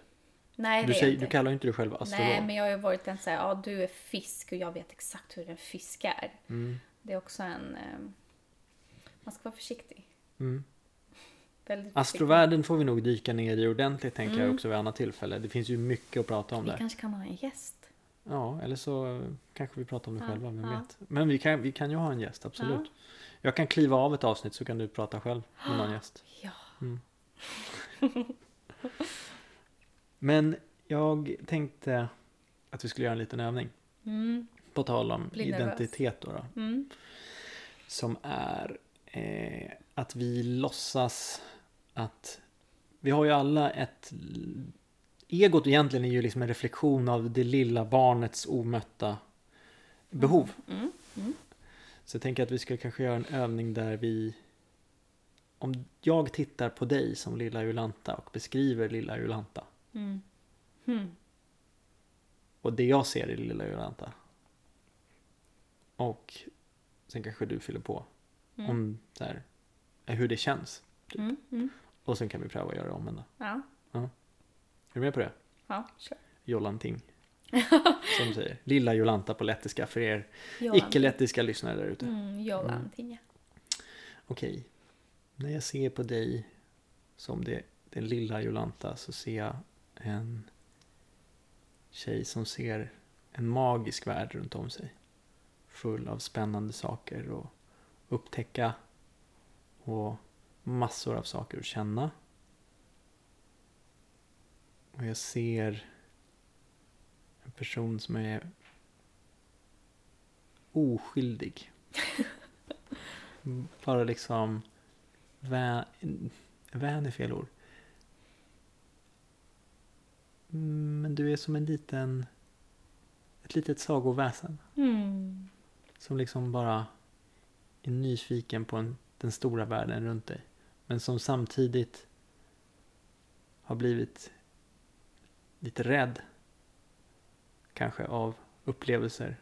Nej,
Du,
det är
säger,
inte.
du kallar ju inte dig själv astrolog.
Nej, men jag har ju varit en såhär, ja du är fisk och jag vet exakt hur en fisk är.
Mm.
Det är också en... eh, Man ska vara försiktig.
Mm.
Väldigt
Astrovärlden får vi nog dyka ner i ordentligt tänker
Mm.
jag också vid annat tillfälle. Det finns ju mycket att prata om
försiktig. Vi
där.
kanske kan ha en gäst.
Ja, eller så eh, kanske vi pratar om det
Ja,
själva, vem
ja.
vet. Men vi kan, vi kan ju ha en gäst, absolut. Jag kan kliva av ett avsnitt så kan du prata själv med någon gäst. Mm.
Ja.
Men jag tänkte att vi skulle göra en liten övning.
Mm.
På tal om
Bli nervös.
identitet då, då.
Mm.
Som är eh, att vi låtsas att vi har ju alla ett... Egot egentligen är ju liksom en reflektion av det lilla barnets omötta behov.
Mm.
Så jag tänker att vi ska kanske göra en övning där vi... Om jag tittar på dig som lilla Jolanta och beskriver lilla Jolanta.
Mm. Mm.
Och det jag ser i lilla Jolanta. Och sen kanske du fyller på.
Mm.
Om så här, hur det känns.
Mm. Mm.
Och sen kan vi pröva att göra det omvända.
Ja,
Är du med på det?
ja, kör.
Jolanting. Som säger. Lilla Jolanta på lettiska för er
Johan.
icke-lettiska lyssnare där ute.
Mm, Johan, Tinja.
Okej. När jag ser på dig som det, den lilla Jolanta så ser jag en tjej som ser en magisk värld runt om sig. Full av spännande saker och upptäcka och massor av saker att känna. Och jag ser en person som är oskyldig. Bara liksom vän, vän är fel ord. Mm, Men du är som en liten, ett litet sagoväsen
Mm.
som liksom bara är nyfiken på en, den stora världen runt dig. Men som samtidigt har blivit lite rädd. Kanske av upplevelser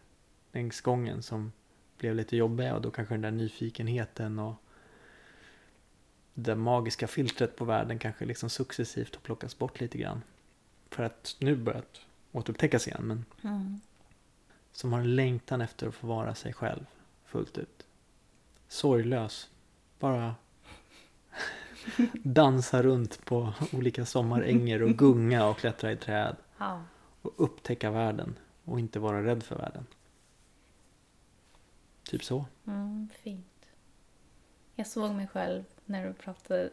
längs gången som blev lite jobbiga och då kanske den där nyfikenheten och det där magiska filtret på världen kanske liksom successivt har plockats bort lite grann. För att nu börjat återupptäckas igen men
Mm.
som har en längtan efter att få vara sig själv fullt ut. Sorglös. Bara dansa runt på olika sommaränger och gunga och klättra i träd
Ja.
och upptäcka världen och inte vara rädd för världen. Typ så.
Mm, fint. Jag såg mig själv när du pratade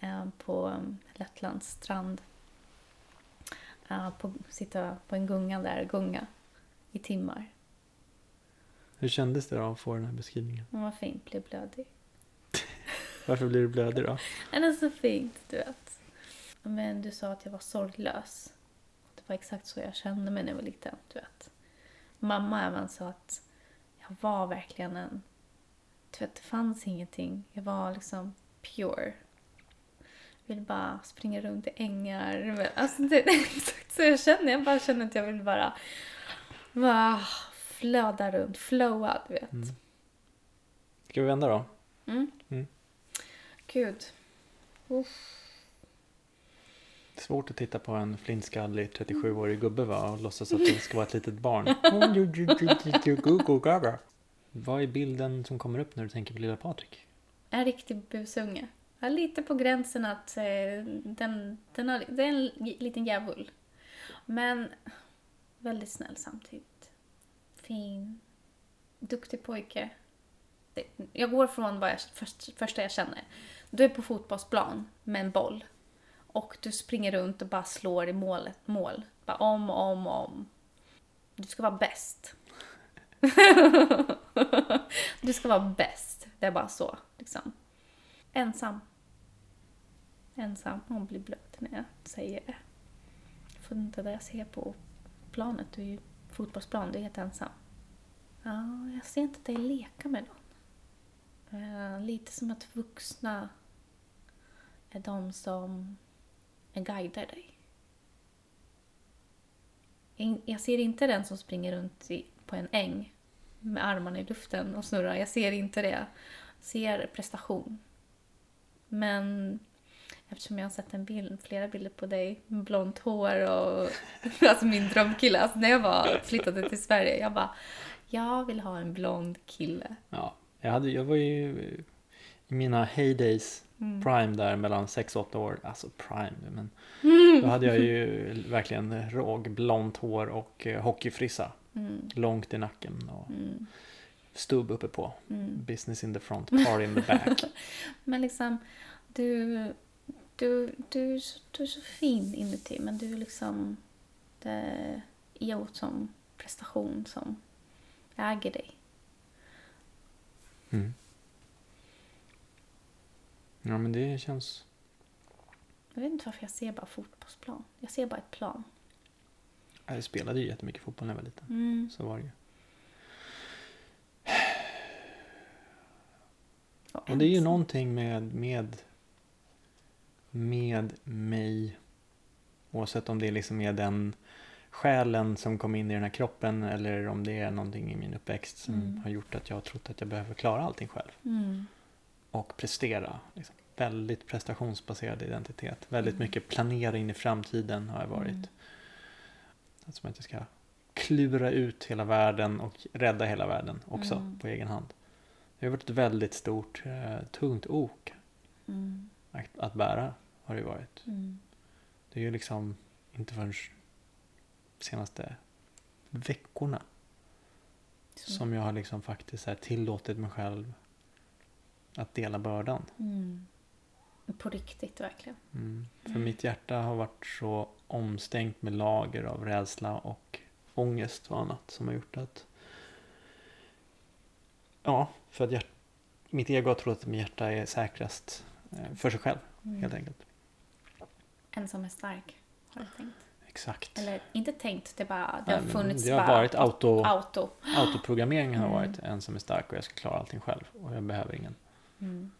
eh, på um, Lettlands strand. Eh, på, sitta på en gunga där, gunga, i timmar.
Hur kändes det då att få den här beskrivningen?
Men vad fint, blev blödig.
Varför blir du blödig då?
Men det är så fint, du vet. Men du sa att jag var sorglös. Det var exakt så jag kände mig när jag var liten, du vet. Mamma även sa att jag var verkligen en... Du vet, det fanns ingenting. Jag var liksom pure. Jag ville bara springa runt i ängar. Men Alltså, det är exakt så jag känner. Jag bara känner att jag vill bara, bara flöda runt, flowa, du vet. Mm.
Mm. Ska vi vända då?
Gud.
Svårt att titta på en flintskallig 37-årig gubbe va? och låtsas att det ska vara ett litet barn. Vad är bilden som kommer upp när du tänker på lilla Patrik?
En riktig busunge. Ja, lite på gränsen att eh, den, den, har, den är en li- liten djävul. Men väldigt snäll samtidigt. Fin. Duktig pojke. Det- Jag går från vad jag, först, första jag känner. Du är på fotbollsplan med en boll. Och du springer runt och bara slår i målet, mål. Bara om och om och om. Du ska vara bäst. du ska vara bäst. Det är bara så. Liksom. Ensam. Ensam. Hon blir blöt när jag säger det. Jag får inte det jag ser på planet. Du är ju fotbollsplan, du är helt ensam. Ja, jag ser inte dig leka med någon. Eh, lite som att vuxna är de som guidar dig. In- Jag ser inte den som springer runt i, på en äng med armarna i luften och snurrar. Jag ser inte det. Jag ser prestation. Men eftersom jag har sett en bild, flera bilder på dig med blont hår och alltså min drömkille. Alltså när jag var, flyttade till Sverige, jag bara jag vill ha en blond kille.
Ja, jag, hade, jag var ju eh, i mina heydays,
Mm.
prime där mellan 6 och 8 år, alltså prime, men
Mm.
då hade jag ju verkligen rågblont hår och eh, hockeyfrissa.
Mm,
Långt i nacken och
mm,
stubb uppe på.
mm.
Business in the front, party in the back.
Men liksom, du, du, du, är så- du är så fin inuti, men du är liksom... Det egot som prestation som äger dig.
Mm. Ja, men det känns...
Jag vet inte varför jag ser bara fotbollsplan. Jag ser bara ett plan.
Jag spelade ju jättemycket fotboll när jag var liten.
Mm.
Så var det ju. Och det är ju någonting med, med, med mig. Oavsett om det liksom är den själen som kom in i den här kroppen eller om det är någonting i min uppväxt som
Mm.
har gjort att jag har trott att jag behöver klara allting själv.
Mm.
Och prestera. Liksom. Väldigt prestationsbaserad identitet. Väldigt
Mm.
mycket planera in i framtiden har jag varit.
Mm.
Att Som att jag ska klura ut hela världen och rädda hela världen också
Mm.
på egen hand. Det har varit ett väldigt stort, eh, tungt ok
Mm.
att, att bära har det ju varit.
Mm.
Det är ju liksom inte förrän senaste veckorna
Mm.
som jag har liksom faktiskt så här tillåtit mig själv att dela bördan.
Mm. På riktigt, verkligen.
Mm. För mitt hjärta har varit så omstängt med lager av rädsla och ångest och annat som har gjort att... Ja, för att hjärt... mitt ego har trott att mitt hjärta är säkrast eh, för sig själv,
Mm.
helt enkelt.
En som är stark, har jag tänkt.
Exakt.
Eller inte tänkt, det, är bara, det
Ah, Nej,
har
men
funnits
det har
bara
varit auto,
auto.
autoprogrammeringen har
Mm.
varit en som är stark och jag ska klara allting själv och jag behöver ingen.
Mm.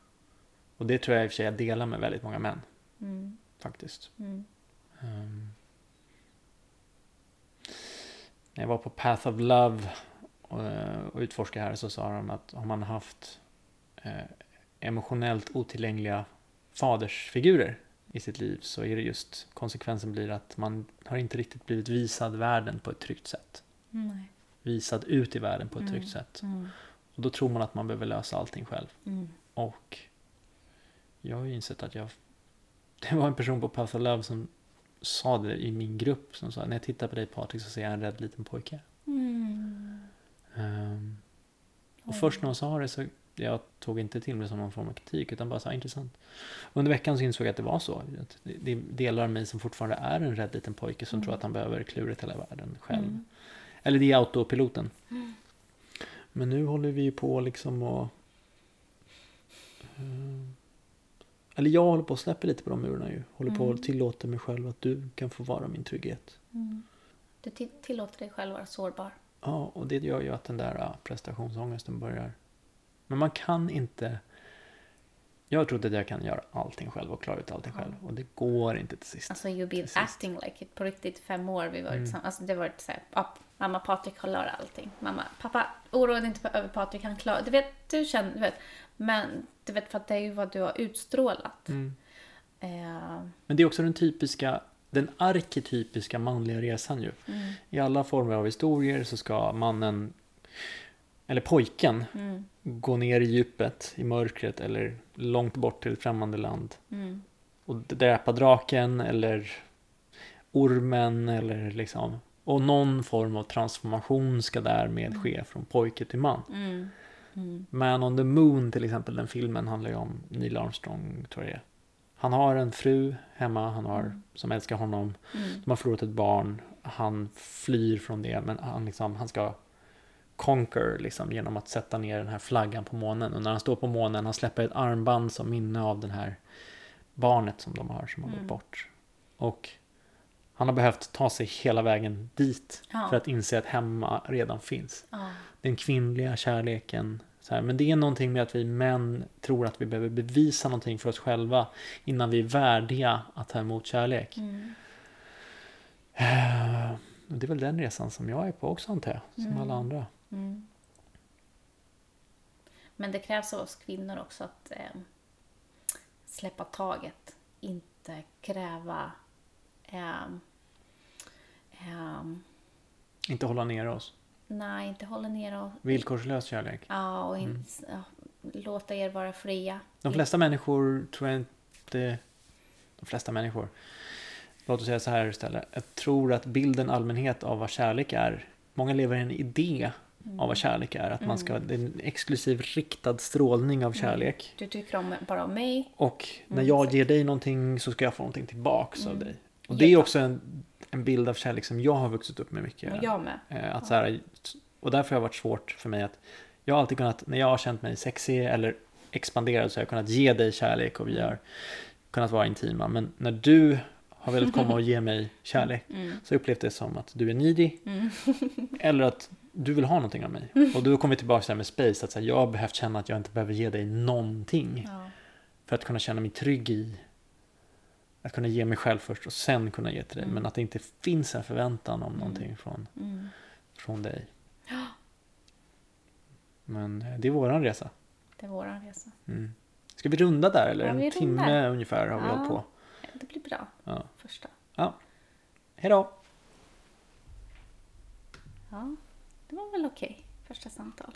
Och det tror jag i och för sig jag delar med väldigt många män,
Mm.
faktiskt.
Mm.
Ehm. När jag var på Path of Love eh, och utforskade här så sa de att har man haft eh, emotionellt otillgängliga fadersfigurer i sitt liv så är det just konsekvensen blir att man har inte riktigt blivit visad världen på ett tryggt sätt.
Nej.
Visad ut i världen på ett
Mm.
tryggt sätt.
Mm.
Och då tror man att man behöver lösa allting själv.
Mm.
Och jag har ju insett att jag... Det var en person på Path of Love som sa det i min grupp som sa när jag tittar på dig Patrik så ser jag en rädd liten pojke.
Mm.
Ehm, och
Oj.
först när hon sa det så jag tog inte till mig som någon form av kritik utan bara så här, intressant. Under veckan så insåg jag att det var så. Att det- Det är delar av mig som fortfarande är en rädd liten pojke som
Mm.
tror att han behöver klura ut hela världen själv.
Mm.
Eller det är autopiloten. Men nu håller vi ju på liksom och... Eh, Eller jag håller på att släppa lite på de murarna ju. Håller på
Mm.
att tillåta mig själv att du kan få vara min trygghet.
Mm. Du till- tillåter dig själv vara sårbar.
Ja, och det gör ju att den där ja, prestationsångesten börjar. Men man kan inte... Jag trodde att jag kan göra allting själv och klara ut allting själv. Och det går inte till sist.
Alltså you've been
Precis.
acting like it på riktigt i fem år. Vi var tillsammans. Alltså det var så här, ja, mamma Patrik har klarat allting. Mamma, pappa, oroa dig inte på- över Patrik, han klarar Du vet, du känner, du vet. Men du vet för att det är ju vad du har utstrålat.
Mm.
Eh,
Men det är också den typiska, den arketypiska manliga resan ju.
mm,
I alla former av historier så ska mannen, eller pojken,
mm,
gå ner i djupet, i mörkret eller långt bort till ett främmande land.
mm,
Och dräpa draken eller ormen eller liksom. Och någon form av transformation ska därmed ske från pojke till man.
mm, mm.
Man on the Moon till exempel, den filmen handlar ju om Neil Armstrong tror jag det är. Han har en fru hemma han har, som älskar honom.
Mm.
De har förlorat ett barn. Han flyr från det men han, liksom, han ska conquer liksom, genom att sätta ner den här flaggan på månen. Och när han står på månen han släpper ett armband som minne av den här barnet som de har som har gått bort. Och han har behövt ta sig hela vägen dit
Ja.
för att inse att hemma redan finns
Ja,
den kvinnliga kärleken. Så här. Men det är någonting med att vi män tror att vi behöver bevisa någonting för oss själva innan vi är värdiga att ta emot kärlek.
mm,
Eh, och Det är väl den resan som jag är på också antar jag, som alla andra.
mm. Men det krävs av oss kvinnor också att eh, släppa taget. Inte kräva... ehm, ehm,
Inte hålla ner oss.
Nej, inte hålla ner och,
Villkorslös kärlek.
ja, och in, ja, låta er vara fria.
Mm. De flesta människor tror jag inte... De flesta människor. Låt oss säga så här istället. Jag tror att bilden allmänhet av vad kärlek är. Många lever i en idé av
Mm.
vad kärlek är. Att man ska, det är en exklusiv riktad strålning av
Mm.
kärlek.
Du tycker om, bara om mig.
Och när
Mm.
jag ger dig någonting så ska jag få någonting tillbaks av dig. Och
Ja.
det är också en, en bild av kärlek som jag har vuxit upp med mycket.
Och jag med.
Eh, Att så här, och därför har det varit svårt för mig att jag har alltid kunnat, när jag har känt mig sexig eller expanderad så har jag kunnat ge dig kärlek och vi har kunnat vara intima. Men när du har velat komma och ge mig kärlek
Mm.
så har jag upplevt det som att du är needy eller att du vill ha någonting av mig. Och du har kommit tillbaka till det här med space, att så här, jag har behövt känna att jag inte behöver ge dig någonting.
Ja.
För att kunna känna mig trygg i att kunna ge mig själv först och sen kunna ge till dig. Men att det inte finns en förväntan om någonting från,
Mm.
från dig. Men eh, det är våran resa.
Det är våran resa.
Mm. Ska vi runda där eller?
Ja,
en
vi rundar.
timme ungefär har vi
Ja.
hållit på.
Det blir bra.
Ja.
Första.
Ja. Hej då!
Ja, det var väl okej. Första samtal.